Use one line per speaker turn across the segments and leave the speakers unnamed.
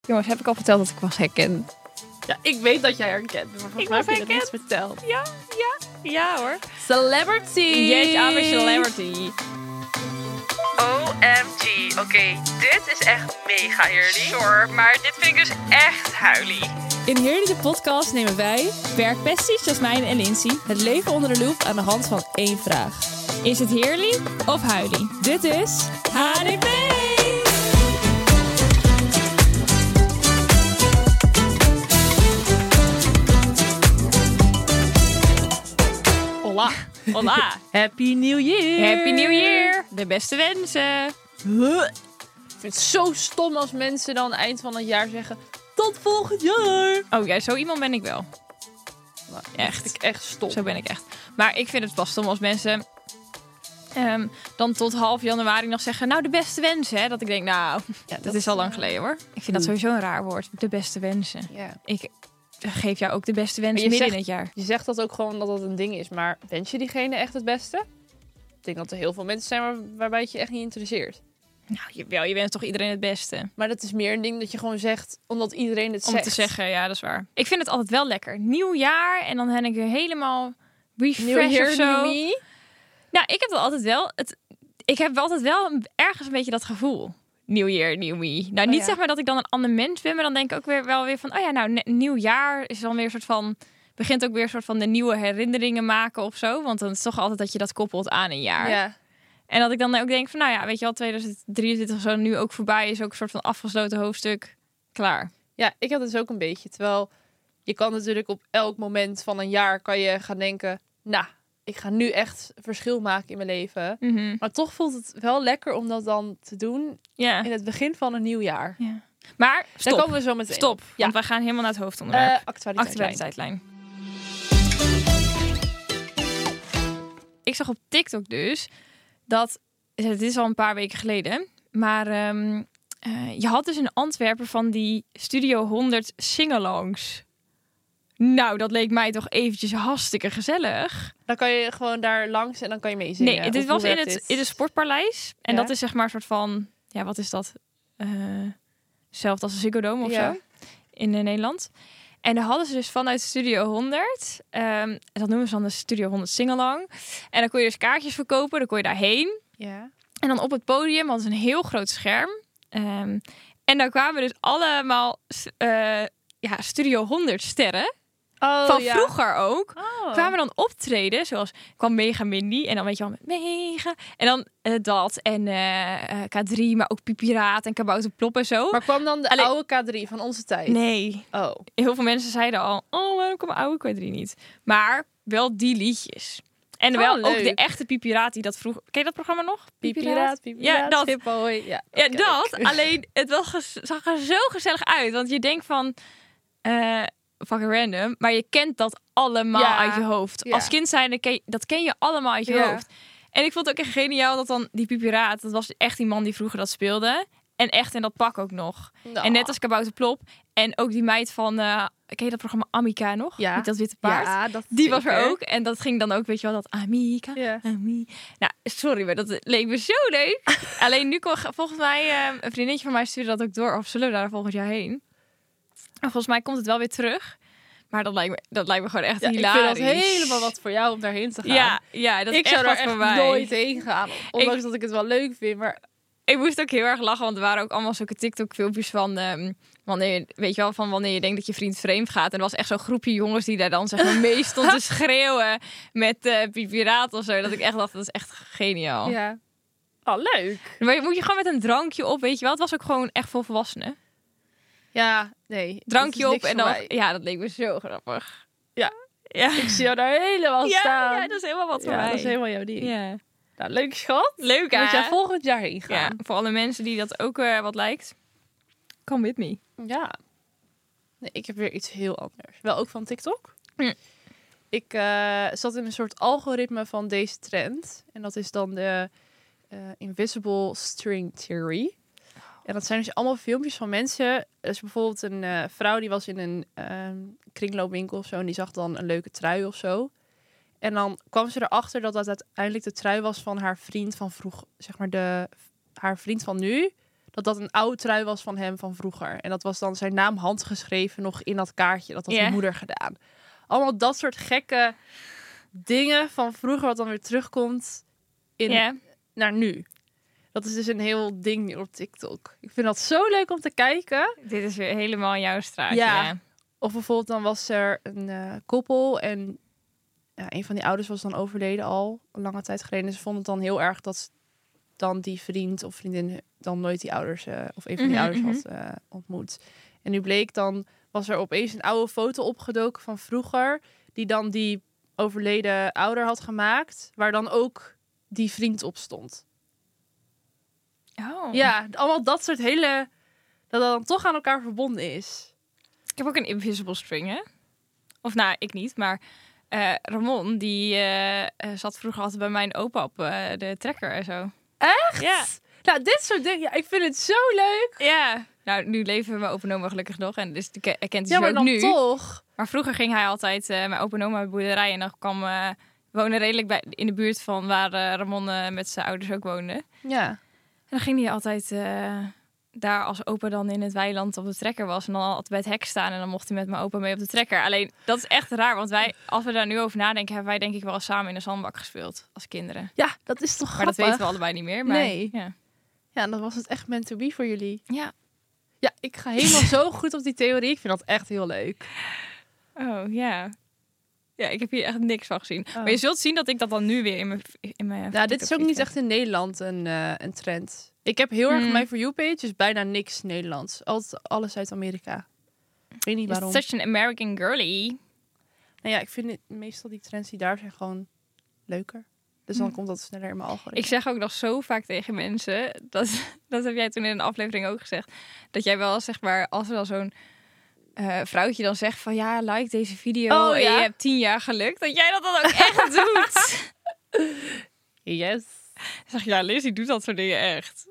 Jongens, heb ik al verteld dat ik was herkend?
Ja, ik weet dat jij herkend bent, maar volgens
Ik
mij heb
was
je dat niet verteld.
Ja, ja, ja hoor.
Celebrity!
Yes, I'm a celebrity.
OMG. Oké, dit is echt mega eerlijk. Sorry, maar dit vind ik dus echt huilie.
In Heerlijke Podcast nemen wij, werkpesties Jasmijn en Lindsay, het leven onder de loep aan de hand van één vraag. Is het heerlijk of huilie? Dit is HDP!
Hola. Hola. Happy New Year.
Happy New Year! De beste wensen!
Ik vind het zo stom als mensen dan eind van het jaar zeggen... Tot volgend jaar.
Oh ja, zo iemand ben ik wel.
Nou, dat
Echt.
vind ik echt stom.
Zo ben ik echt. Maar ik vind het pas stom als mensen ehm, dan tot half januari nog zeggen... Nou, de beste wensen, hè? Dat ik denk, nou, dat, is al lang geleden, hoor. Hmm. Ik vind dat sowieso een raar woord. De beste wensen.
Ja.
Ik geef jou ook de beste wensen
je
midden in
zegt-
het jaar.
Je zegt dat ook gewoon dat dat een ding is, maar wens je diegene echt het beste? Ik denk dat er heel veel mensen zijn waar- waarbij het je echt niet interesseert.
Nou, jawel, je bent toch iedereen het beste.
Maar dat is meer een ding dat je gewoon zegt omdat iedereen het
Om
zegt.
te zeggen, ja, dat is waar. Ik vind het altijd wel lekker. Nieuw jaar en dan ben ik weer helemaal
New
refresh
year,
of
new
zo.
me.
Nou, ik heb dat altijd wel. Het, ik heb altijd wel een- ergens een beetje dat gevoel. Nieuw jaar, nieuw me. Nou,
Oh,
niet
ja.
zeg maar dat ik dan een ander mens ben, maar dan denk ik ook weer wel weer van, oh ja, nou, ne- nieuw jaar is dan weer een soort van begint ook weer een soort van de nieuwe herinneringen maken of zo, want dan is het toch altijd dat je dat koppelt aan een jaar.
Ja.
En dat ik dan ook denk van, nou ja, weet je wel, 2023 of zo nu ook voorbij is ook een soort van afgesloten hoofdstuk. Klaar.
ja, ik had het dus ook een beetje. Terwijl je kan natuurlijk op elk moment van een jaar kan je gaan denken... Nou, ik ga nu echt verschil maken in mijn leven. Maar toch voelt het wel lekker om dat dan te doen
Ja.
in het begin van een nieuw jaar.
ja. Maar
Daar
stop.
komen we zo meteen.
Stop,
op.
want
Ja.
we gaan helemaal naar het hoofdonderwerp.
Eh actualiteit.
Actualiteitslijn. Ik zag op TikTok dus dat het is al een paar weken geleden, maar ehm, eh, je had dus in Antwerpen van die Studio 100 singalongs. Nou, dat leek mij toch eventjes hartstikke gezellig.
Dan kan je gewoon daar langs en dan kan je meezingen.
Nee, dit
Of
was
hoe
in
werkt
het,
dit?
in het sportpaleis. En
Ja.
dat is zeg maar een soort van, ja, wat is dat? Eh, Hetzelfde als een Ziggo Dome of
Ja.
zo in eh, Nederland. En daar hadden ze dus vanuit Studio 100, ehm, dat noemen ze dan de Studio 100 Singalong. En dan kon je dus kaartjes verkopen, dan kon je daarheen.
Ja.
En dan op het podium hadden ze een heel groot scherm. Ehm, en daar kwamen dus allemaal eh, ja, Studio 100 sterren,
Oh,
van
ja.
vroeger ook,
Oh.
kwamen dan optreden, zoals kwam Mega Mindy en dan weet je wel met Mega en dan eh, dat en eh, eh, K3, maar ook Pipiraat en Kabouter Plop en zo.
Maar kwam dan de
Allee-
oude K3 van onze tijd?
nee,
Oh.
heel veel mensen zeiden al, oh waarom komt mijn oude K3 niet? Maar wel die liedjes. En
Oh,
wel ook
leuk.
de echte Pipiraat die dat vroeg. Ken je dat programma nog?
Piepiraat, piepiraat,
Ja, dat.
hip hoi. Ja,
Ja,
ken
dat.
ik.
Alleen, het was gez- zag er zo gezellig uit. Want je denkt van... eh fucking random. Maar je kent dat allemaal
Ja.
uit je hoofd.
Ja.
Als kind zijnde, ken je- dat ken je allemaal uit je
Ja.
hoofd. En ik vond het ook echt geniaal dat dan die Pipiraat... Dat was echt die man die vroeger dat speelde. En echt in dat pak ook nog.
Nou.
En net als Kabouter Plop. En ook die meid van... eh, ken je dat programma Amica nog?
Ja.
Met dat witte paard.
Ja, dat
Die was er
zeker.
ook. En dat ging dan ook, weet je wel, dat Amica.
Ja.
Ami. Nou, sorry, maar dat leek me zo leuk. Alleen nu kon volgens mij, eh, een vriendinnetje van mij stuurde dat ook door. Of zullen we daar volgend jaar heen? En volgens mij komt het wel weer terug. Maar dat lijkt me, dat lijkt me gewoon echt
Ja, ik vind dat
hilarisch.
helemaal wat voor jou om daarheen te gaan.
Ja, ja, dat
ik
is
zou
echt wat
daar echt
voor mij.
nooit heen gaan. Ondanks dat ik het wel leuk vind. Maar
Ik moest ook heel erg lachen, want er waren ook allemaal zulke TikTok-filmpjes van... ehm, wanneer, weet je wel, van wanneer je denkt dat je vriend vreemd gaat. En er was echt zo'n groepje jongens die daar dan zeg maar mee stond te schreeuwen met eh piraat of zo. Dat ik echt dacht, dat is echt geniaal.
ja.
Oh,
Al leuk.
Maar je moet je gewoon met een drankje op, weet je wel. Het was ook gewoon echt voor volwassenen.
Ja, nee.
Drankje
dit is
op
niks
en
voor
dan...
mij.
Ja, dat leek me zo grappig.
Ja.
Ja,
Ik zie jou daar helemaal
ja,
staan.
ja, dat is helemaal wat voor
Ja,
mij.
dat is helemaal jouw ding.
Ja.
Nou, leuk schat.
Leuk, hè?
Moet jij volgend jaar heen
ja,
gaan.
voor alle mensen die dat ook eh, wat lijkt. Come with me.
Ja. Nee, ik heb weer iets heel anders. Wel ook van TikTok.
Hm.
Ik eh, zat in een soort algoritme van deze trend. En dat is dan de eh, Invisible String Theory. En dat zijn dus allemaal filmpjes van mensen. Er is bijvoorbeeld een eh, vrouw die was in een ehm, kringloopwinkel of zo. En die zag dan een leuke trui of zo. En dan kwam ze erachter dat dat uiteindelijk de trui was van haar vriend van vroeg. Zeg maar de, haar vriend van nu. dat dat een oude trui was van hem van vroeger. En dat was dan zijn naam handgeschreven nog in dat kaartje. Dat had
Ja.
mijn moeder gedaan. Allemaal dat soort gekke dingen van vroeger wat dan weer terugkomt in,
Ja.
naar nu. Dat is dus een heel ding op TikTok. Ik vind dat zo leuk om te kijken.
Dit is weer helemaal jouw straatje.
Ja.
Ja.
Of bijvoorbeeld dan was er een eh, koppel en ja, een van die ouders was dan overleden al een lange tijd geleden. En ze vonden het dan heel erg dat ze dan die vriend of vriendin dan nooit die ouders eh, of een van die
Mhm,
ouders had eh, ontmoet. En nu bleek dan, was er opeens een oude foto opgedoken van vroeger, die dan die overleden ouder had gemaakt, waar dan ook die vriend op stond.
Oh.
Ja, allemaal dat soort hele, dat dat dan toch aan elkaar verbonden is.
Ik heb ook een invisible string, hè? Of nou, ik niet, maar eh, Ramon, die eh, eh, zat vroeger altijd bij mijn opa op eh, de trekker en zo. Echt? Ja.
Nou, dit soort dingen, ja, ik vind het zo leuk.
ja. Nou, nu leven mijn opa en oma gelukkig nog en dus die ke- hij kent hij
Ja,
ze
maar
ook
dan
nu.
toch.
Maar vroeger ging hij altijd, eh mijn opa en oma bij de boerderij en dan kwam... eh wonen redelijk bij, in de buurt van waar eh, Ramon eh, met zijn ouders ook woonde. En
Ja.
dan ging hij altijd eh, daar als opa dan in het weiland op de trekker was. En dan altijd bij het hek staan. En dan mocht hij met mijn opa mee op de trekker. Alleen, dat is echt raar. Want wij, als we daar nu over nadenken, hebben wij denk ik wel eens samen in een zandbak gespeeld. Als kinderen.
Ja, dat is toch
Maar dat
grappig.
weten we allebei niet meer. Maar,
Nee.
Ja.
Ja, dan was het echt meant to be voor jullie.
ja.
Ja, ik ga helemaal zo goed op die theorie. Ik vind dat echt heel leuk.
Oh, ja. Ja, ik heb hier echt niks van gezien.
Oh.
Maar je zult zien dat ik dat dan nu weer in mijn... In mijn
Nou, dit is ook niet echt in Nederland een, eh, een trend. Ik heb heel erg
Hmm.
mijn For You-page, dus bijna niks Nederlands. Altijd alles uit Amerika. Ik weet niet waarom.
Is such an American girlie.
Nou ja, ik vind het, meestal die trends die daar zijn gewoon leuker. Dus dan
Hmm.
komt dat sneller in mijn algoritme.
Ik zeg ook nog zo vaak tegen mensen, dat, dat heb jij toen in een aflevering ook gezegd, dat jij wel zeg maar, als er dan zo'n eh, vrouwtje dan zegt van ja, like deze video
Oh,
en
ja?
je hebt tien jaar geluk, dat jij dat dan ook echt doet.
Yes.
Dan zeg je, ja, Liz, die doet dat soort dingen echt.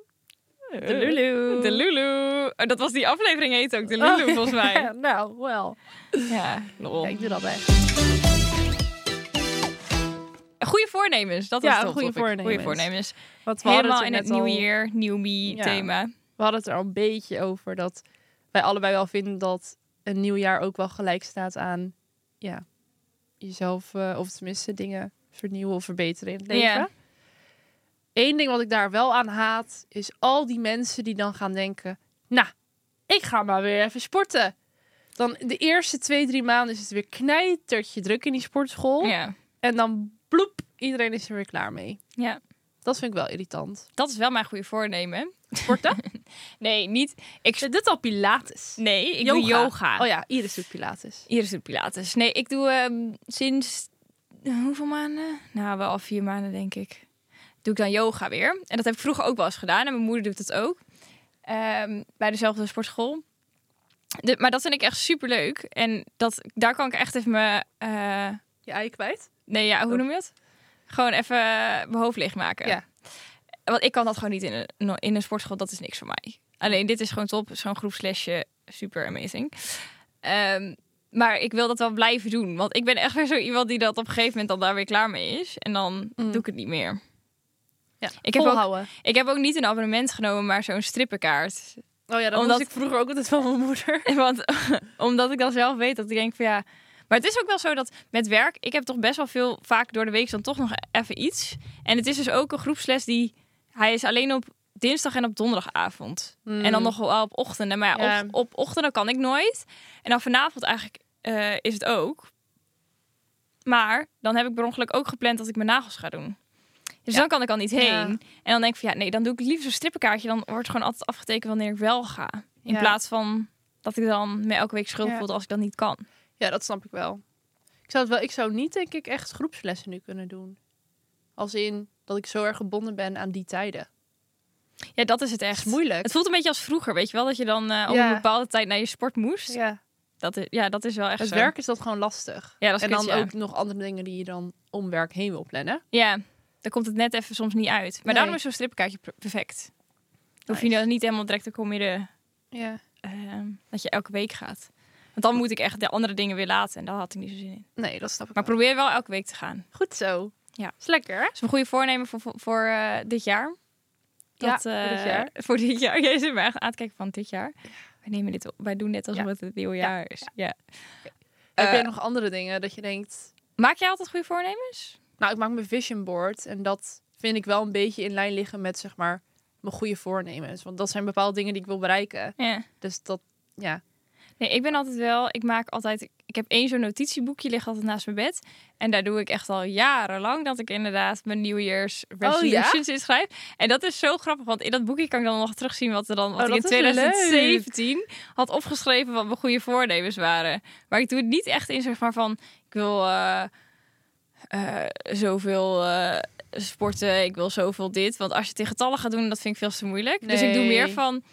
De Lulu.
Eh, De Lulu. Oh, dat was die aflevering heet ook, de Lulu
Oh,
volgens mij.
Ja, nou, wel.
Ja, lol.
Ja, ik doe dat echt.
Goede voornemens, dat was
Ja,
het
goede
topic. Goede
voornemens.
voornemens.
Want we hadden
Helemaal in
er
het
net al-
nieuwe year, nieuw me
Ja.
thema.
we hadden het er al een beetje over dat wij allebei wel vinden dat een nieuw jaar ook wel gelijk staat aan ja, jezelf, eh, of tenminste dingen vernieuwen of verbeteren in het leven.
Ja.
Eén ding wat ik daar wel aan haat, is al die mensen die dan gaan denken, nou, ik ga maar weer even sporten. Dan de eerste twee, drie maanden is het weer knijtertje druk in die sportschool.
Ja.
En dan bloep, iedereen is er weer klaar mee.
ja,
Dat vind ik wel irritant.
dat is wel mijn goede voornemen.
Sporten?
Nee, niet. Ik,
Dit al Pilates.
nee, ik doe yoga.
Oh ja, Iris doet Pilates.
Iris doet Pilates. Nee, ik doe ehm, sinds eh, hoeveel maanden? Nou, wel al vier maanden, denk ik. Doe ik dan yoga weer. En dat heb ik vroeger ook wel eens gedaan. En mijn moeder doet het ook. Ehm, bij dezelfde sportschool. De- maar dat vind ik echt super leuk. En dat, daar kan ik echt even mijn. eh,
Je ei kwijt?
nee, ja, hoe noem je dat? Gewoon even mijn hoofd leegmaken.
Oh. Ja.
Want ik kan dat gewoon niet in een, in een sportschool. Dat is niks voor mij. Alleen dit is gewoon top. Zo'n groepslesje. Super amazing. Ehm, maar ik wil dat wel blijven doen. Want ik ben echt weer zo iemand die dat op een gegeven moment dan daar weer klaar mee is. En dan
Mm.
doe ik het niet meer.
Ja,
Ik heb ook-
volhouden.
Ik heb ook niet een abonnement genomen, maar zo'n strippenkaart.
Oh ja, dat
Omdat-
was ik vroeger ook altijd van mijn moeder.
Want omdat ik dan zelf weet dat ik denk van ja. Maar het is ook wel zo dat met werk, ik heb toch best wel veel vaak door de week dan toch nog even iets. En het is dus ook een groepsles die hij is alleen op dinsdag en op donderdagavond.
Hmm.
En dan nog wel op ochtenden. Maar ja,
Mm. Ja.
Op, op ochtenden kan ik nooit. En dan vanavond eigenlijk eh, is het ook. Maar dan heb ik per ongeluk ook gepland dat ik mijn nagels ga doen. Dus dan kan ik al niet heen.
Ja.
En dan denk ik van ja, nee, dan doe ik liever zo'n strippenkaartje. Dan wordt gewoon altijd afgetekend wanneer ik wel ga. In
Ja.
plaats van dat ik dan me elke week schuldig
Ja.
voel als ik dat niet kan.
Ja, dat snap ik wel. Ik zou, het wel. ik zou niet, denk ik, echt groepslessen nu kunnen doen. Als in dat ik zo erg gebonden ben aan die tijden.
Ja, dat is het
Echt
echt.
moeilijk.
Het voelt een beetje als vroeger, weet je wel? Dat je dan eh, op
Ja.
een bepaalde tijd naar je sport moest.
ja.
Dat is, ja, dat is wel echt
Het
zo.
werk is dat gewoon lastig.
Ja, dat is
en dan
kut, ja.
ook nog andere dingen die je dan om werk heen wil plannen.
Ja, dan komt het net even soms niet uit. Maar
Nee.
daarom is zo'n strippenkaartje per- perfect. Dan Hoef je
Nice.
nou niet helemaal direct te committen
Ja.
eh, dat je elke week gaat. Want dan moet ik echt de andere dingen weer laten. En daar had ik niet zo zin in.
Nee, dat snap ik
Maar
wel.
probeer wel elke week te gaan.
Goed zo.
Ja.
Is lekker, hè?
Dat is een goede voornemen voor, voor, voor, eh, dit jaar.
Ja,
Dat,
voor dit
eh,
jaar.
Voor dit jaar. Jij zit me echt aan te kijken van dit jaar. Wij nemen dit op. Wij doen net alsof
Ja.
het het nieuwe jaar is. Ja.
Heb
Eh,
jij nog andere dingen dat je denkt...
Maak jij altijd goede voornemens?
Nou, ik maak mijn vision board. En dat vind ik wel een beetje in lijn liggen met, zeg maar, mijn goede voornemens. Want dat zijn bepaalde dingen die ik wil bereiken.
Ja.
Dus dat, ja.
Nee, ik ben altijd wel. Ik maak altijd. Ik heb één zo'n notitieboekje ligt altijd naast mijn bed. En daar doe ik echt al jarenlang dat ik inderdaad mijn New Year's
Oh,
resolutions inschrijf. En dat is zo grappig, want in dat boekje kan ik dan nog terugzien wat er dan wat
Oh,
ik in
dat is leuk.
2017 had opgeschreven wat mijn goede voornemens waren. Maar ik doe het niet echt in zeg maar van ik wil eh, eh, zoveel eh, sporten, ik wil zoveel dit. Want als je het in getallen gaat doen, dat vind ik veel te moeilijk. Dus ik doe
Nee.
meer van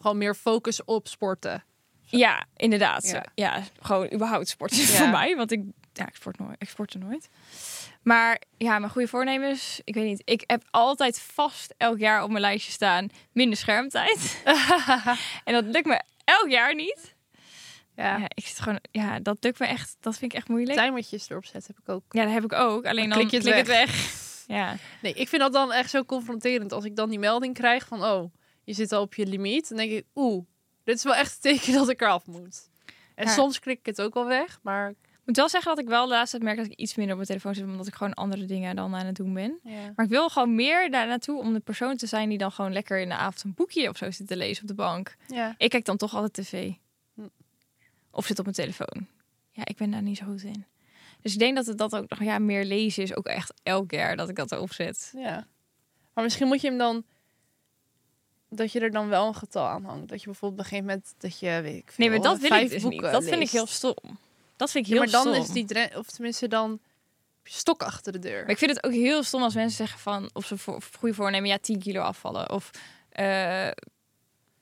Gewoon meer focus op sporten.
ja, inderdaad. Ja.
Ja.
gewoon überhaupt sporten
Ja.
voor mij. Want ik, ja, ik sport nooit. Ik sportte nooit. Maar ja, mijn goede voornemens, ik weet niet. Ik heb altijd vast elk jaar op mijn lijstje staan minder schermtijd. en dat lukt me elk jaar niet. Ja.
ja.
ik zit gewoon, ja, dat lukt me echt. Dat vind ik echt moeilijk.
Timertjes erop zetten heb ik ook.
Ja, dat heb ik ook. Alleen dan
Dan klik je het weg.
Ja.
Nee, ik vind dat dan echt zo confronterend. Als ik dan die melding krijg van, oh, je zit al op je limiet. Dan denk ik, oeh, dit is wel echt het teken dat ik eraf moet. En
Ja.
soms klik ik het ook wel weg, maar...
Ik moet wel zeggen dat ik wel de laatste tijd merk dat ik iets minder op mijn telefoon zit. Omdat ik gewoon andere dingen dan aan het doen ben.
Ja.
Maar ik wil gewoon meer daar naartoe om de persoon te zijn die dan gewoon lekker in de avond een boekje of zo zit te lezen op de bank.
ja.
Ik kijk dan toch altijd tv.
Hm.
Of zit op mijn telefoon. Ja, ik ben daar niet zo goed in. Dus ik denk dat het dat ook nog ja, meer lezen is. Ook echt elk jaar dat ik dat opzet.
Ja. Maar misschien moet je hem dan... Dat je er dan wel een getal aan hangt. Dat je bijvoorbeeld begint met dat je, weet ik veel,
Nee, maar dat wil ik
vijf
dus niet.
boeken
Dat vind ik
leest.
heel stom. Dat vind ik
Ja,
heel
maar dan
stom.
is die dre- of tenminste dan heb je stok achter de deur.
Maar ik vind het ook heel stom als mensen zeggen van... of ze voor, goede voornemen, ja, 10 kilo afvallen. Of eh,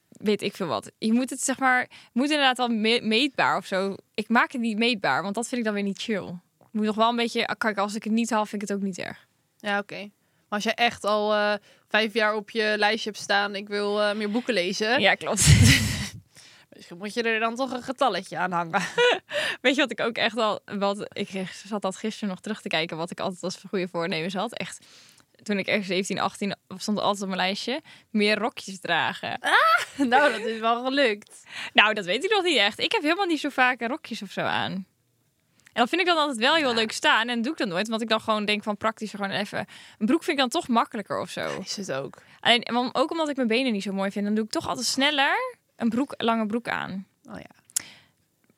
weet ik veel wat. Je moet het zeg maar... het moet inderdaad wel me- meetbaar of zo. Ik maak het niet meetbaar, want dat vind ik dan weer niet chill. Ik moet nog wel een beetje... ah, Kijk, als ik het niet haal, vind ik het ook niet erg.
Ja, oké. Maar als jij echt al eh, vijf jaar op je lijstje hebt staan, ik wil eh, meer boeken lezen.
Ja, klopt.
Misschien moet je er dan toch een getalletje aan hangen.
weet je wat ik ook echt al... Wat, ik zat dat gisteren nog terug te kijken... wat ik altijd als goede voornemens had. Echt... Toen ik ergens 17, 18 stond altijd op mijn lijstje meer rokjes dragen.
nou, dat is wel gelukt.
Nou, dat weet ik nog niet echt. Ik heb helemaal niet zo vaak rokjes of zo aan. En dat vind ik dan altijd wel heel leuk staan. En doe ik dat nooit, want ik dan gewoon denk van praktisch gewoon even... Een broek vind ik dan toch makkelijker of zo.
Is het ook.
Alleen, want ook omdat ik mijn benen niet zo mooi vind, dan doe ik toch altijd sneller een broek, lange broek aan.
Oh ja.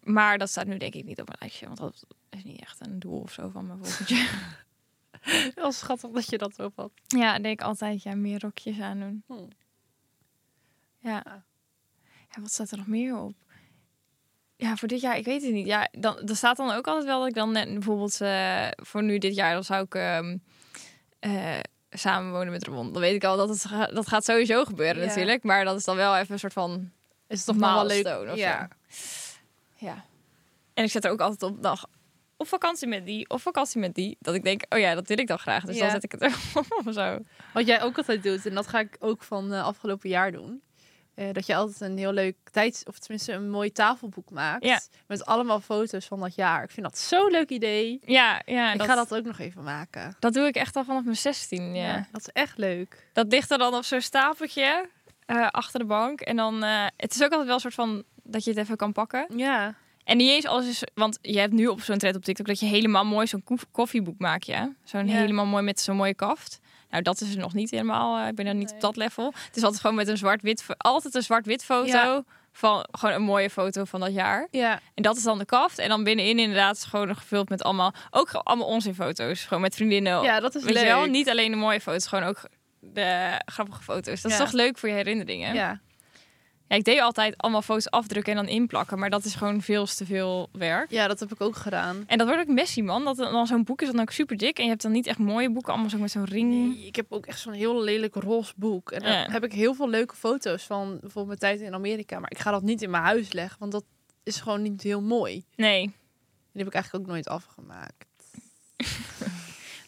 Maar dat staat nu denk ik niet op mijn lijstje, want dat is niet echt een doel of zo van mijn volgend jaar.
Wel schattig dat je dat ook had.
Ja, dan denk ik altijd, ja, meer rokjes aandoen.
Hmm. Ah.
Ja.
Ja.
ja. Wat staat er nog meer op? Ja, voor dit jaar, ik weet het niet. Ja, dan, er staat dan ook altijd wel dat ik dan net bijvoorbeeld eh, voor nu dit jaar, dan zou ik ehm eh, samenwonen met Ramon. Dan weet ik al dat het ga- dat gaat sowieso gebeuren
Ja.
natuurlijk. Maar dat is dan wel even een soort van
Is het toch nog wel leuk?
milestone of
ja.
zo. Ja. En ik zet er ook altijd op dag of vakantie met die, of vakantie met die. Dat ik denk, oh ja, dat wil ik dan graag. Dus dan
Ja.
zet ik het erop of zo.
Wat jij ook altijd doet, en dat ga ik ook van eh, afgelopen jaar doen. eh, dat je altijd een heel leuk tijds, of tenminste een mooi tafelboek maakt.
Ja.
Met allemaal foto's van dat jaar. Ik vind dat zo'n leuk idee.
Ja, ja.
ik ga dat ook nog even maken.
Dat doe ik echt al vanaf mijn 16. Ja.
Dat is echt leuk.
Dat ligt er dan op zo'n stapeltje eh, achter de bank. En dan, eh, het is ook altijd wel een soort van dat je het even kan pakken.
Ja.
En niet eens alles is, want je hebt nu op zo'n thread op TikTok dat je helemaal mooi zo'n koef- koffieboek maakt. Ja? Zo'n
Ja.
helemaal mooi met zo'n mooie kaft. Nou, dat is er nog niet helemaal. eh, ik ben er niet op
Nee.
dat level. Het is altijd gewoon met een zwart-wit, fo- altijd een zwart-wit foto.
Ja.
Van gewoon een mooie foto van dat jaar.
Ja.
En dat is dan de kaft. En dan binnenin inderdaad gewoon gevuld met allemaal, ook gewoon allemaal onzinfoto's. Gewoon met vriendinnen
ja, dat is
Oh, Weet
leuk.
je wel, niet alleen de mooie foto's, gewoon ook de grappige foto's. Dat is
Ja.
toch leuk voor je herinneringen?
Ja.
Ja, ik deed altijd allemaal foto's afdrukken en dan inplakken, maar dat is gewoon veel te veel werk.
ja, dat heb ik ook gedaan.
En dat wordt ook messy, man. Dat dan zo'n boek is dan ook super dik en je hebt dan niet echt mooie boeken, allemaal zo met zo'n ring.
Nee, Ik heb ook echt zo'n heel lelijk roze boek. En daar
Mm. Ja.
heb ik heel veel leuke foto's van bijvoorbeeld mijn tijd in Amerika. Maar ik ga dat niet in mijn huis leggen, want dat is gewoon niet heel mooi.
Nee,
Die heb ik eigenlijk ook nooit afgemaakt.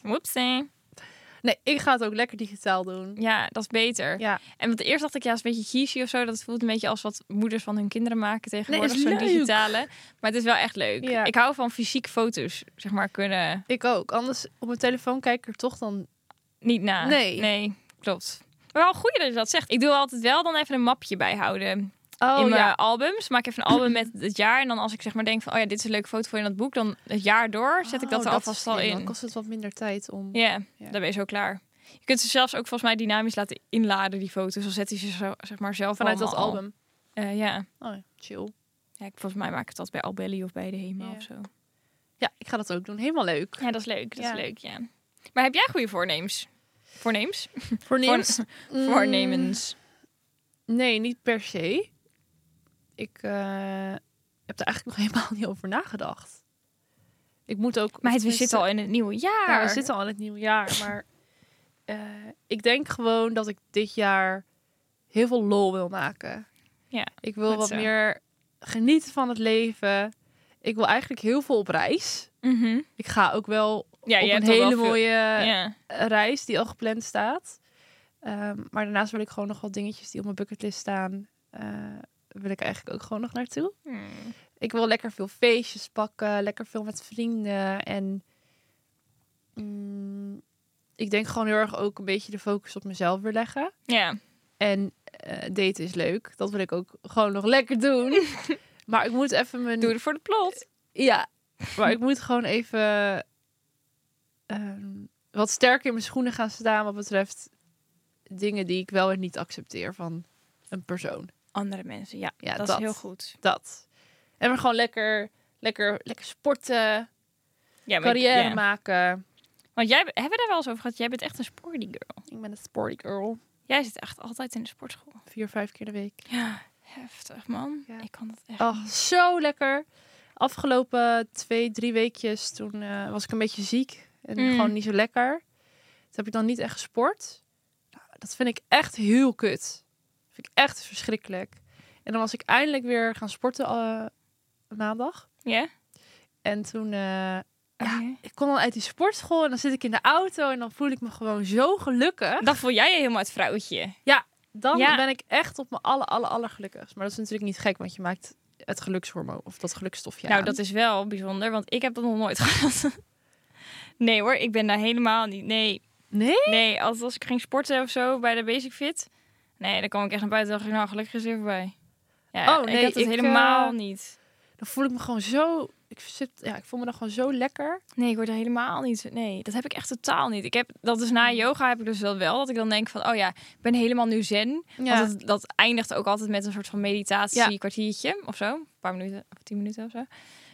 whoopsie.
Nee, ik ga het ook lekker digitaal doen.
Ja, dat is beter.
Ja.
En want eerst dacht ik, ja, is een beetje cheesy of zo. Dat voelt een beetje als wat moeders van hun kinderen maken tegenwoordig,
is
zo'n
leuk.
digitale. Maar het is wel echt leuk.
Ja.
Ik hou van fysiek foto's, zeg maar, kunnen
Ik ook. Anders op mijn telefoon kijk ik er toch dan.
niet na.
Nee.
Nee, klopt. Maar wel goed dat je dat zegt. Ik doe altijd wel dan even een mapje bijhouden
Oh
in mijn albums. Maak even een album met het jaar. En dan als ik zeg maar denk van, oh ja, dit is een leuke foto voor in dat boek. Dan het jaar door zet
Oh,
ik dat er alvast al in.
Dan kost het wat minder tijd om.
Ja,
Ja.
dan ben je zo klaar. Je kunt ze zelfs ook volgens mij dynamisch laten inladen, die foto's. Dan zet hij ze zo, zeg maar zelf
Vanuit dat
allemaal al.
album.
Eh, ja.
Oh, ja, chill.
ja, ik- volgens mij maak ik het altijd bij Albelly of bij de Hema
Ja.
of zo.
Ja, ik ga dat ook doen. Helemaal leuk.
Ja, dat is leuk. Dat
Ja.
is leuk, ja. Maar heb jij goede voornemens? Voornemens?
Voornemens? Mm,
Voornemens.
Nee, niet per se. Ik eh, heb er eigenlijk nog helemaal niet over nagedacht. Ik moet ook.
Maar het, we
tenminste-
zitten al in het nieuwe
Ja,
jaar.
we zitten al in het nieuwe jaar. Maar eh, ik denk gewoon dat ik dit jaar heel veel lol wil maken.
Ja,
ik wil
goed
wat
zo.
meer genieten van het leven. Ik wil eigenlijk heel veel op reis.
Mhm.
Ik ga ook wel
Ja,
op
je
een
hebt al wel
hele
veel-
mooie
ja.
reis die al gepland staat. Ehm, maar daarnaast wil ik gewoon nog wat dingetjes die op mijn bucketlist staan. eh, wil ik eigenlijk ook gewoon nog naartoe.
Hmm.
Ik wil lekker veel feestjes pakken, lekker veel met vrienden. En mm, ik denk gewoon heel erg ook een beetje de focus op mezelf weer leggen.
Ja.
En eh, daten is leuk. Dat wil ik ook gewoon nog lekker doen. maar ik moet even mijn
Doe het voor de plot.
ja, maar ik moet gewoon even ehm, wat sterker in mijn schoenen gaan staan wat betreft dingen die ik wel en niet accepteer van een persoon.
Andere mensen, ja.
Ja,
dat,
dat.
is heel goed.
Dat. En maar gewoon lekker, lekker, lekker sporten,
Ja, maar-
carrière
ja.
maken.
Want jij, hebben we daar wel eens over gehad? Jij bent echt een sporty girl.
Ik ben een sporty girl.
Jij zit echt altijd in de sportschool.
Vier, vijf keer de week.
Ja, heftig man.
Ja.
Ik kan dat echt.
Oh, zo lekker. Afgelopen twee, drie weekjes toen eh, was ik een beetje ziek en
Mm.
gewoon niet zo lekker. Dat heb ik dan niet echt gesport. Nou, dat vind ik echt heel kut. Dat vind ik echt verschrikkelijk. En dan was ik eindelijk weer gaan sporten eh, maandag.
Ja?
En toen, eh,
Oké.
ik kom dan uit die sportschool en dan zit ik in de auto en dan voel ik me gewoon zo gelukkig.
Dan voel jij je helemaal het vrouwtje.
Dan
Ja.
ben ik echt op mijn alle, alle, alle gelukkigst. Maar dat is natuurlijk niet gek, want je maakt het gelukshormoon of dat gelukstofje
Nou,
aan.
dat is wel bijzonder, want ik heb dat nog nooit gehad. Nee hoor, ik ben daar helemaal niet. Nee,
Nee?
nee. Als, als ik ging sporten of zo bij de Basic Fit. Nee, dan kwam ik echt naar buiten en dacht ik, nou gelukkig is weer voorbij. Ja,
Oh,
ik
nee,
heb dat
ik,
helemaal
eh,
niet.
dan voel ik me gewoon zo. Ik, zit, ja, ik voel me dan gewoon zo lekker.
Nee, ik word er helemaal niet. Nee, dat heb ik echt totaal niet. Ik heb dat dus na yoga heb ik dus wel wel dat ik dan denk van, oh ja, ik ben helemaal nu zen.
Ja.
Want dat, dat eindigt ook altijd met een soort van meditatie
Ja.
kwartiertje of zo. Een paar minuten of tien minuten of zo.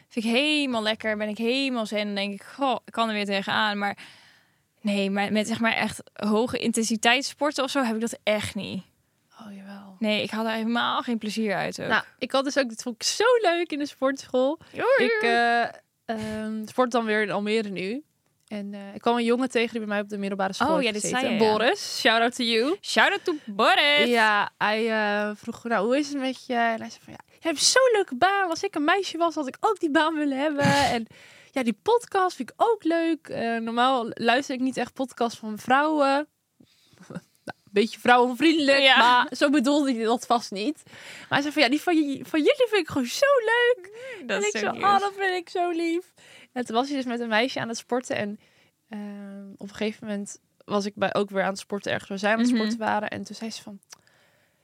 Vind ik helemaal lekker. Ben ik helemaal zen. Dan denk ik, goh, ik kan er weer tegenaan. Maar nee, maar met zeg maar echt hoge intensiteit sporten of zo heb ik dat echt niet.
Oh jawel.
Nee, ik haal daar helemaal geen plezier uit ook.
Nou, ik had dus ook, dit vond ik zo leuk in de sportschool. Ik eh, ehm, sport dan weer in Almere nu. En eh, ik kwam een jongen tegen die bij mij op de middelbare school
Oh,
heeft
ja, dit
gezeten.
zei je, ja.
Boris, shout out to you.
Shout out to Boris.
Ja, hij eh, vroeg, nou, hoe is het met je? En hij zei van, ja, je hebt zo'n leuke baan. Als ik een meisje was, had ik ook die baan willen hebben. en ja, die podcast vind ik ook leuk. Eh, normaal luister ik niet echt podcasts van vrouwen. nou, een beetje vrouwenvriendelijk,
Ja.
maar zo bedoelde hij dat vast niet. Maar hij zei van, ja, die van, j- van jullie vind ik gewoon zo
dat
en
is
ik zo,
zo
ah, dat vind ik zo lief. En toen was hij dus met een meisje aan het sporten. En ehm, op een gegeven moment was ik bij, ook weer aan het sporten ergens waar zij aan het
Mhm.
sporten waren. En toen zei ze van,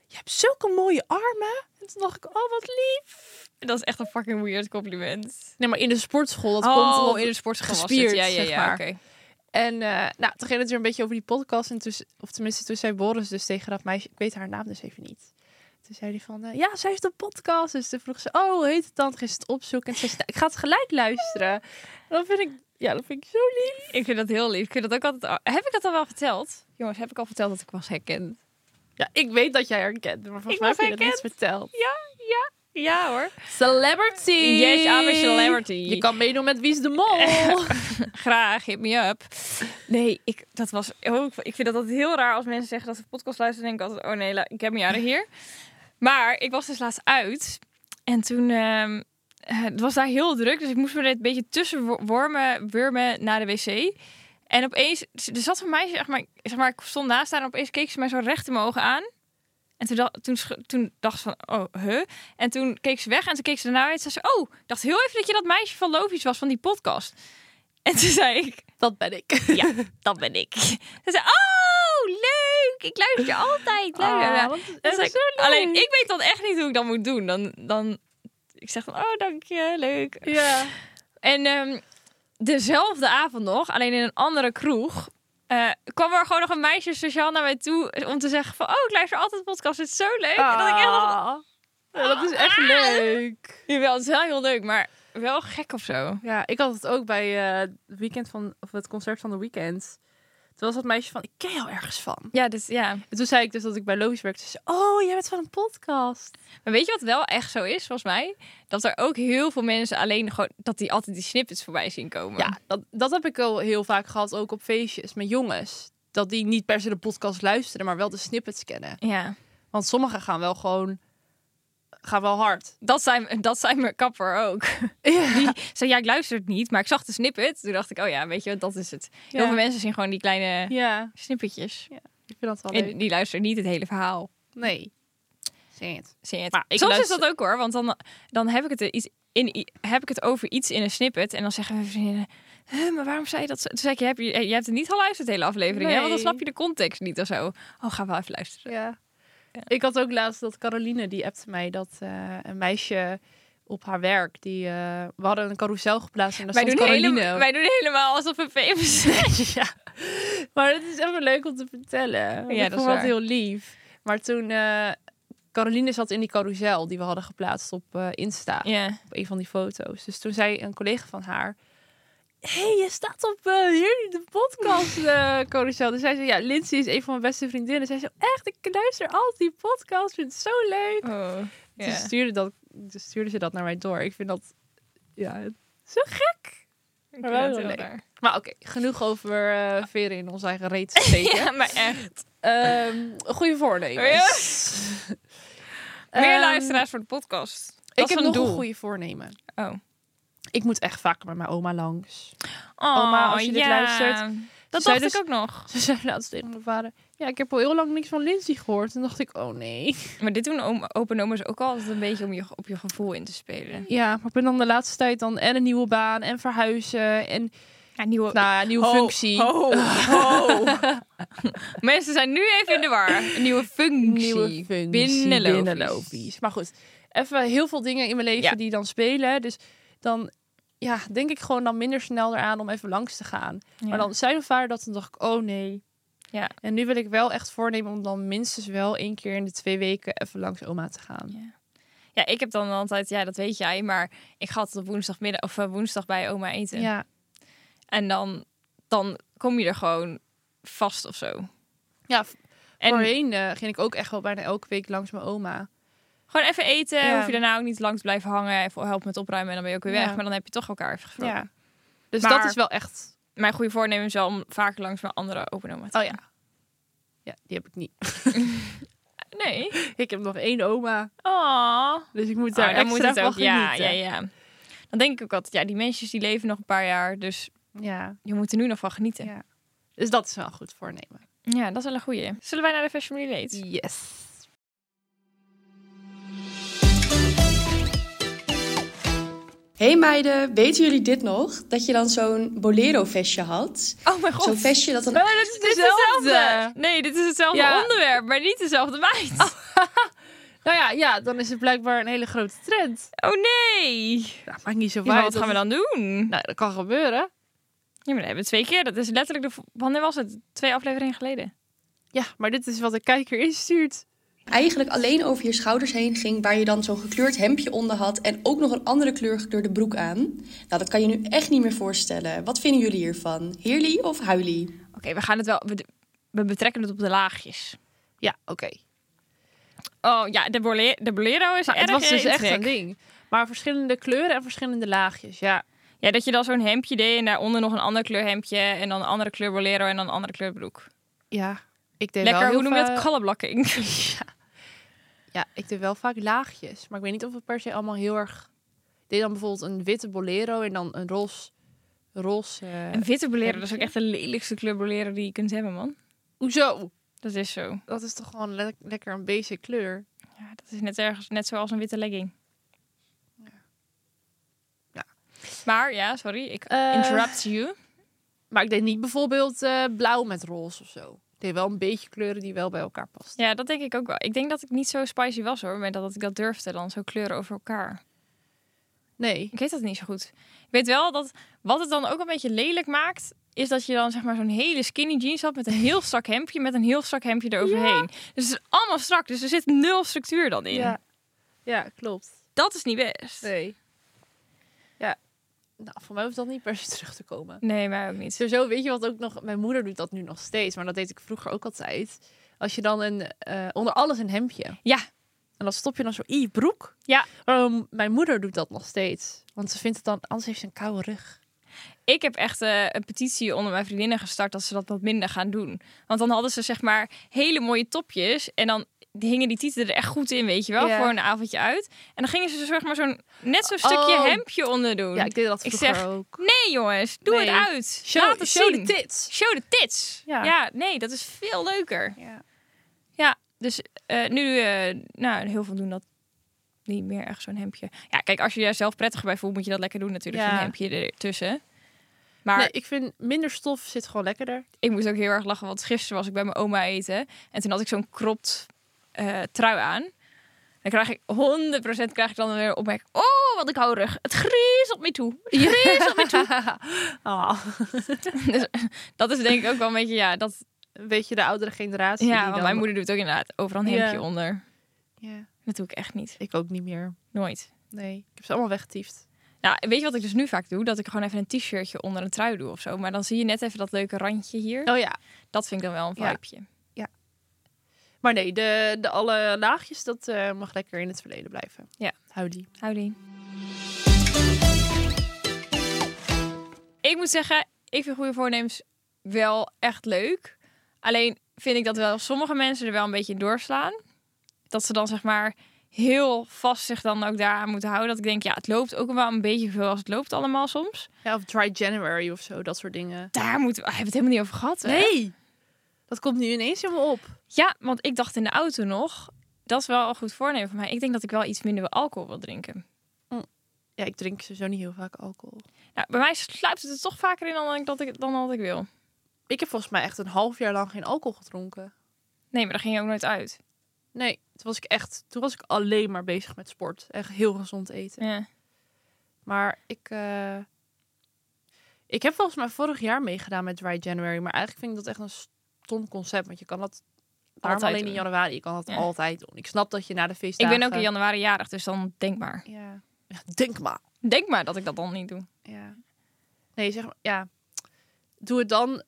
je hebt zulke mooie armen. En toen dacht ik, oh wat lief.
Dat is echt een fucking weird compliment.
Nee, maar in de sportschool, dat
oh,
komt omdat-
in de sportschool was
gespierd,
het. Ja, ja,
zeg
ja.
maar.
oké.
En eh, nou, toen ging het weer een beetje over die podcast. En toen, of tenminste, toen zei Boris dus tegen dat meisje, ik weet haar naam dus even niet. Toen zei hij van, eh, ja, zij heeft een podcast. Dus toen vroeg ze, oh, hoe heet het dan? Toen ging ze het opzoeken. En toen zei ze, nou, ik ga het gelijk luisteren. En dat vind ik, ja, dat vind ik zo
Ik vind dat heel lief. Ik vind dat ook altijd... Heb ik dat al wel verteld? Jongens, heb ik al verteld dat ik was herkend?
Ja, ik weet dat jij herkent, maar volgens
Ik
mij heb
was
je dat niet verteld.
Ja hoor.
Celebrity!
Yes, I'm a celebrity.
Je kan meedoen met Wie is de Mol.
Graag, hit me up. Nee, ik, dat was ook. Ik vind dat altijd heel raar als mensen zeggen dat ze podcast luisteren. Dan denk ik altijd: oh nee, la- ik heb mijn jaren hier. Maar ik was dus laatst uit. En toen. ehm, eh, het was daar heel druk. Dus ik moest me er een beetje tussen wo- wormen, wurmen naar de wc. En opeens. Er zat een meisje, zeg maar, zeg maar. Ik stond naast haar en opeens keek ze mij zo recht in mijn ogen aan. En toen, dacht- toen, sch- toen dacht ze van, oh, huh? En toen keek ze weg en toen keek ze daarna uit. Zei ze, oh, ik dacht heel even dat je dat meisje van Lovies was van die podcast. En toen zei ik,
dat ben ik.
ja, dat ben ik. Ze zei, oh, leuk. ik luister altijd. Blablabla.
Ah, want-
Dat is
dat
echt- Alleen ik weet dan echt niet hoe ik dat moet doen. Dan, dan, ik zeg dan, oh dank je, leuk.
Ja.
En ehm, dezelfde avond nog, alleen in een andere kroeg, eh, kwam er gewoon nog een meisje sociaal naar mij toe om te zeggen van, oh ik luister altijd podcast, het is zo leuk. En dat ik echt Ah. dacht,
Ah. Ja, dat is echt leuk.
jawel, het is wel heel leuk, maar wel gek of zo.
Ja, ik had het ook bij eh, het weekend van, of het concert van de weekend. Toen was dat meisje van, ik ken jou ergens van.
Ja, dus ja.
En toen zei ik dus dat ik bij Logisch werkte. Ze zei, oh, jij bent van een podcast.
Maar weet je wat wel echt zo is, volgens mij? Dat er ook heel veel mensen alleen gewoon, dat die altijd die snippets voorbij zien komen.
Ja, dat, dat heb ik al heel vaak gehad, ook op feestjes met jongens. Dat die niet per se de podcast luisteren, maar wel de snippets kennen.
Ja.
Want sommigen gaan wel gewoon, gaan wel hard.
Dat zijn, dat zijn mijn kapper ook. Die zei, ja, ik luister het niet, maar ik zag de snippet. Toen dacht ik, oh ja, weet je, wat, dat is het. Heel
Ja.
veel mensen zien gewoon die kleine
Ja,
snippetjes.
ik vind dat wel leuk.
En die luisteren niet het hele verhaal.
Nee, zeg het.
Zie je het?
Maar ik
Soms
luister-
is dat ook hoor, want dan, dan heb, ik het er iets in, i- heb ik het over iets in een snippet. En dan zeggen mijn vriendinnen, "Huh, maar waarom zei je dat? zo?" Toen zei ik, je hebt, je, je hebt het niet geluisterd, de hele aflevering. Hè? Want dan
Nee.
snap je de context niet of zo. Oh, ga wel even luisteren.
Ja. Ik had ook laatst dat Caroline, die appte mij dat eh, een meisje op haar werk, die, eh, we hadden een carousel geplaatst en daar
Wij
stond
doen,
Caroline.
hele- wij doen helemaal alsof we famous zijn.
ja. Maar het is even leuk om te vertellen. Want
dat
ik
is
vond dat
waar.
heel lief. Maar toen, eh, Caroline zat in die carousel die we hadden geplaatst op eh, Insta,
Ja.
op een van die foto's. Dus toen zei een collega van haar, hey, je staat op eh, hier de podcast eh, carousel. Dus zij zei, ja, Lindsay is een van mijn beste vriendinnen. Zij zei, echt, ik luister altijd die podcast, vind het zo leuk.
Oh, ja.
Toen, stuurde dat, toen stuurde ze dat naar mij door. Ik vind dat, ja, zo gek.
Ik
Maar
vind
wel
dat
heel
heel
leuk.
raar.
Maar oké, genoeg over eh, veren in onze eigen reet steken.
Ja, maar echt.
Ehm, goede voornemens.
Meer
Ehm,
luisteraars voor de podcast. Dat
Ik
is
heb
een
nog
doel.
een goede voornemen.
Oh.
Ik moet echt vaak met mijn oma langs.
Oh,
Oma, als je dit luistert.
Dat
Zou je
dacht
dus-
ik ook nog.
Ze zei laatst tegen mijn vader... Ja, ik heb al heel lang niks van Lindsay gehoord. Toen dacht ik, oh nee.
Maar dit doen oom- open omers ook altijd een beetje om je, op je gevoel in te spelen.
Ja, maar ik ben dan de laatste tijd dan en een nieuwe baan en verhuizen en
Ja, nieuwe
nou, een
Oh,
nieuwe functie.
Mensen zijn nu even in de war. Een nieuwe functie.
nieuwe functie.
Binnenlopisch.
binnenlopisch. Maar goed, even heel veel dingen in mijn leven
Ja.
die dan spelen. Dus dan ja, denk ik gewoon dan minder snel eraan om even langs te gaan.
Ja.
Maar dan zei mijn vader dat, dan dacht ik, oh nee.
Ja.
En nu wil ik wel echt voornemen om dan minstens wel één keer in de twee weken even langs oma te gaan.
Ja, ik heb dan altijd, ja, dat weet jij, maar ik ga altijd op woensdagmiddag of eh, woensdag bij oma eten.
Ja,
En dan, dan kom je er gewoon vast of zo.
ja v-
En
voorheen eh, ging ik ook echt wel bijna elke week langs mijn oma.
gewoon even eten.
Ja.
Hoef je daarna ook niet lang te blijven hangen. Even helpen met opruimen en dan ben je ook weer weg.
Ja.
Maar dan heb je toch elkaar even gesproken.
Ja. Dus
Maar-
dat is wel echt...
Mijn goede voornemen is wel om vaker langs mijn andere open oma te gaan.
Oh ja. Ja, die heb ik niet.
Nee.
Ik heb nog één oma,
Oh.
dus ik
Ja,
moet daar
dan
extra
moet het
van
ook. Ja,
genieten.
ja, ja. Dan denk ik ook altijd, ja, die mensen die leven nog een paar jaar. Dus
ja.
je moet er nu nog van genieten. Ja,
Ja. Dus dat is wel een goed voornemen.
dat is wel een goeie. Zullen wij naar de Fashion Relate?
Yes.
Hey meiden, weten jullie dit nog? Dat je dan zo'n bolero-vestje had?
Oh mijn god.
Zo'n vestje dat dan...
dat is
hetzelfde.
Nee, dit is hetzelfde
Ja.
onderwerp, maar niet dezelfde meid. Oh,
Nou ja, ja, dan is het blijkbaar een hele grote trend.
Oh, nee.
Nou, maakt niet zo
Ja, maar
uit.
wat gaan we dan doen?
Nou, dat kan gebeuren.
Ja, maar dat hebben we twee keer. Dat is letterlijk de... vo- Wanneer was het? Twee afleveringen geleden.
Ja, maar dit is wat de kijker instuurt.
Eigenlijk alleen over je schouders heen ging... waar je dan zo'n gekleurd hemdje onder had... en ook nog een andere kleur gekleurde broek aan. Nou, dat kan je nu echt niet meer voorstellen. Wat vinden jullie hiervan? Heerly of huilie?
Oké, we gaan het wel... We, we betrekken het op de laagjes.
Ja, oké.
Oh ja, de, bole- de bolero is
Nou, het
erg
was dus
in
echt
trek.
een ding. Maar verschillende kleuren en verschillende laagjes. Ja,
Ja, dat je dan zo'n hemdje deed en daaronder nog een ander kleur hemdje en dan een andere kleur bolero en dan een andere kleur broek.
ja. Ik deed wel
Lekker,
heel
hoe noem je dat?
vaak-
Colorblocking.
Ja, ik deed wel vaak laagjes. Maar ik weet niet of het per se allemaal heel erg... Ik deed dan bijvoorbeeld een witte bolero en dan een roze... Roze... eh,
Een witte bolero, dat is ook echt de lelijkste kleur bolero die je kunt hebben, man.
Hoezo?
Dat is zo.
Dat is toch gewoon le- lekker een basic kleur?
Ja, dat is net, ergens, net zoals een witte legging.
Ja.
Maar ja, sorry, ik
Eh,
interrupt you.
Maar ik deed niet bijvoorbeeld eh, blauw met roze of zo. Ik deed wel een beetje kleuren die wel bij elkaar past.
Ja, dat denk ik ook wel. Ik denk dat ik niet zo spicy was hoor, maar dat, dat ik dat durfde dan, zo kleuren over elkaar.
Nee.
Ik weet dat niet zo goed. Ik weet wel dat wat het dan ook een beetje lelijk maakt, is dat je dan zeg maar zo'n hele skinny jeans had met een heel strak hemdje, met een heel strak hemdje eroverheen. Dus het is allemaal strak, dus er zit nul structuur dan in.
Ja. ja, klopt.
Dat is niet best.
Nee. Ja. Nou, voor mij hoeft dat niet per se terug te komen.
Nee, mij ook niet.
Sowieso weet je wat ook nog... Mijn moeder doet dat nu nog steeds, maar dat deed ik vroeger ook altijd. Als je dan een, eh, onder alles een hemdje.
Ja.
En dan stop je dan zo in je broek.
Ja.
Maar, um, mijn moeder doet dat nog steeds. Want ze vindt het dan... Anders heeft ze een koude rug.
Ik heb echt eh, een petitie onder mijn vriendinnen gestart dat ze dat wat minder gaan doen. Want dan hadden ze zeg maar hele mooie topjes en dan hingen die tieten er echt goed in, weet je wel,
Ja.
voor een avondje uit. En dan gingen ze dus, zeg maar zo'n net zo'n stukje
Oh.
hemdje onder doen.
Ja, ik deed dat
Ik
vroeger
zeg,
ook.
Nee jongens, doe
Nee.
het uit. Laat
Show,
het
show de
zien.
tits.
Show de tits.
Ja.
Ja. nee, dat is veel leuker.
Ja.
Ja, dus eh, nu, eh, nou, heel veel doen dat niet meer echt zo'n hemdje. Ja, kijk, als je je zelf prettiger bij voelt, moet je dat lekker doen natuurlijk.
Ja.
Zo'n hemdje ertussen. Maar
Nee, ik vind minder stof zit gewoon lekkerder.
ik moest ook heel erg lachen, want gisteren was ik bij mijn oma eten. En toen had ik zo'n cropped eh, trui aan. Dan krijg ik 100% krijg ik dan weer een opmerking. Oh, wat ik hou rug. Het griest op me toe. Het griest op me toe.
Ah,
Dus, Dat is denk ik ook wel een beetje, ja, dat,
Een beetje de oudere generatie.
ja
die
want
dan-
mijn moeder doet ook inderdaad overal een
Ja.
hemdje onder.
Ja,
Dat doe ik echt niet.
ik ook niet meer.
Nooit.
Nee, ik heb ze allemaal weggetiefd.
Nou, weet je wat ik dus nu vaak doe? Dat ik gewoon even een t-shirtje onder een trui doe of zo. Maar dan zie je net even dat leuke randje hier.
Oh ja.
Dat vind ik dan wel een
Ja.
vibeje.
Maar nee, de, de alle laagjes, dat eh, mag lekker in het verleden blijven.
Ja.
Hou die.
Howdy. Ik moet zeggen, ik vind goede voornemens wel echt leuk. Alleen vind ik dat wel sommige mensen er wel een beetje in doorslaan. Dat ze dan zeg maar heel vast zich dan ook daaraan moeten houden. Dat ik denk, ja, het loopt ook wel een beetje veel als het loopt allemaal soms.
Ja, of dry January of zo, dat soort dingen. eh,
Daar moeten we, hebben we het helemaal niet over gehad. hè?
Dat komt nu ineens helemaal op.
Ja, want ik dacht in de auto nog, dat is wel een goed voornemen van mij. Ik denk dat ik wel iets minder alcohol wil drinken.
Ja, ik drink sowieso niet heel vaak alcohol.
Nou, bij mij sluipt het er toch vaker in dan ik, dat ik, dan dat ik wil.
Ik heb volgens mij echt een half jaar lang geen alcohol gedronken.
Nee, maar daar ging je ook nooit uit.
Nee, toen was ik echt, toen was ik alleen maar bezig met sport. Echt heel gezond eten.
Ja.
Maar ik, eh, ik heb volgens mij vorig jaar meegedaan met Dry January. Maar eigenlijk vind ik dat echt een stom concept. Want je kan dat waarom
Altijd
alleen in
doen.
januari. Je kan dat
Ja.
altijd doen. Ik snap dat je na de
Ik
feestdagen...
ben ook in januari jarig, dus dan denk maar.
Ja. Ja, denk maar.
Denk maar dat ik dat dan niet doe.
Ja. Nee, zeg maar, ja. Doe het dan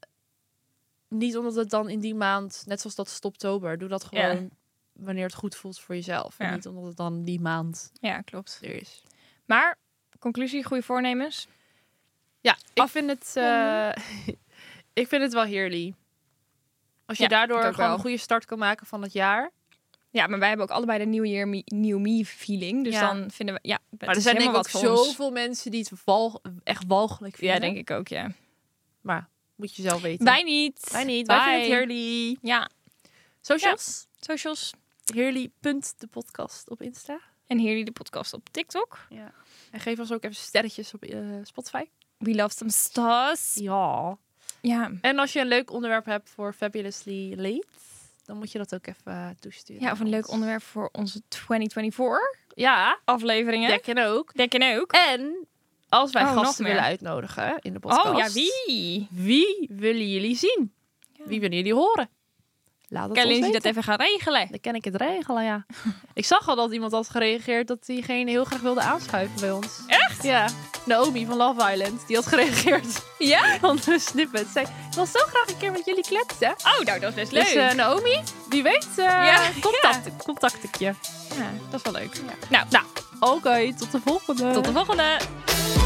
niet omdat het dan in die maand, net zoals dat stoptober, doe dat
Ja.
gewoon wanneer het goed voelt voor jezelf. En
Ja.
niet omdat het dan die maand
Ja, klopt.
er is.
Maar, conclusie, goede voornemens.
Ja, ik vind het, eh, ik vind het wel heerlijk. Als je
Ja,
daardoor
dat ook
gewoon
wel.
een goede start kan maken van het jaar.
Ja, maar wij hebben ook allebei de New Year, me- New Me feeling. Dus
Ja.
dan vinden we, ja, het
maar er
is
zijn denk ik
helemaal wat
ook
voor ons.
zoveel mensen die het wal, echt walgelijk vinden.
Ja, denk ik ook, ja.
Maar moet je zelf weten.
Wij niet.
Wij niet. Wij vinden het
Bye.
heerlijk.
Ja,
Socials?
socials.
Heerlijk.depodcast podcast op Insta.
En hier die de podcast op TikTok.
Ja. En geef ons ook even sterretjes op eh, Spotify.
We love some stars.
Ja.
Ja.
En als je een leuk onderwerp hebt voor Fabulously Late, dan moet je dat ook even eh, toesturen.
ja, of een
aan
leuk
ons.
onderwerp voor onze 2024
Ja,
afleveringen.
dat kan ook.
Denk je ook?
En als wij
Oh, nog
gasten
meer.
willen uitnodigen in de podcast.
Oh ja, wie?
Wie willen jullie zien?
Ja.
Wie willen jullie horen? Laat het
Kan
ons
Lindsay dat
weten.
even gaan regelen?
Dan kan ik het regelen, ja. ik zag al dat iemand had gereageerd dat diegene heel graag wilde aanschuiven bij ons. Echt? Ja. Naomi van Love Island, die had gereageerd
Ja?
van de snippet. Zij wil zo graag een keer met jullie kletsen.
Oh, nou, dat is best
Dus eh, Naomi, wie weet, eh
Ja,
contact, contact ik je.
ja, dat is wel leuk.
Ja.
Nou,
Oké, tot de volgende.
tot de volgende!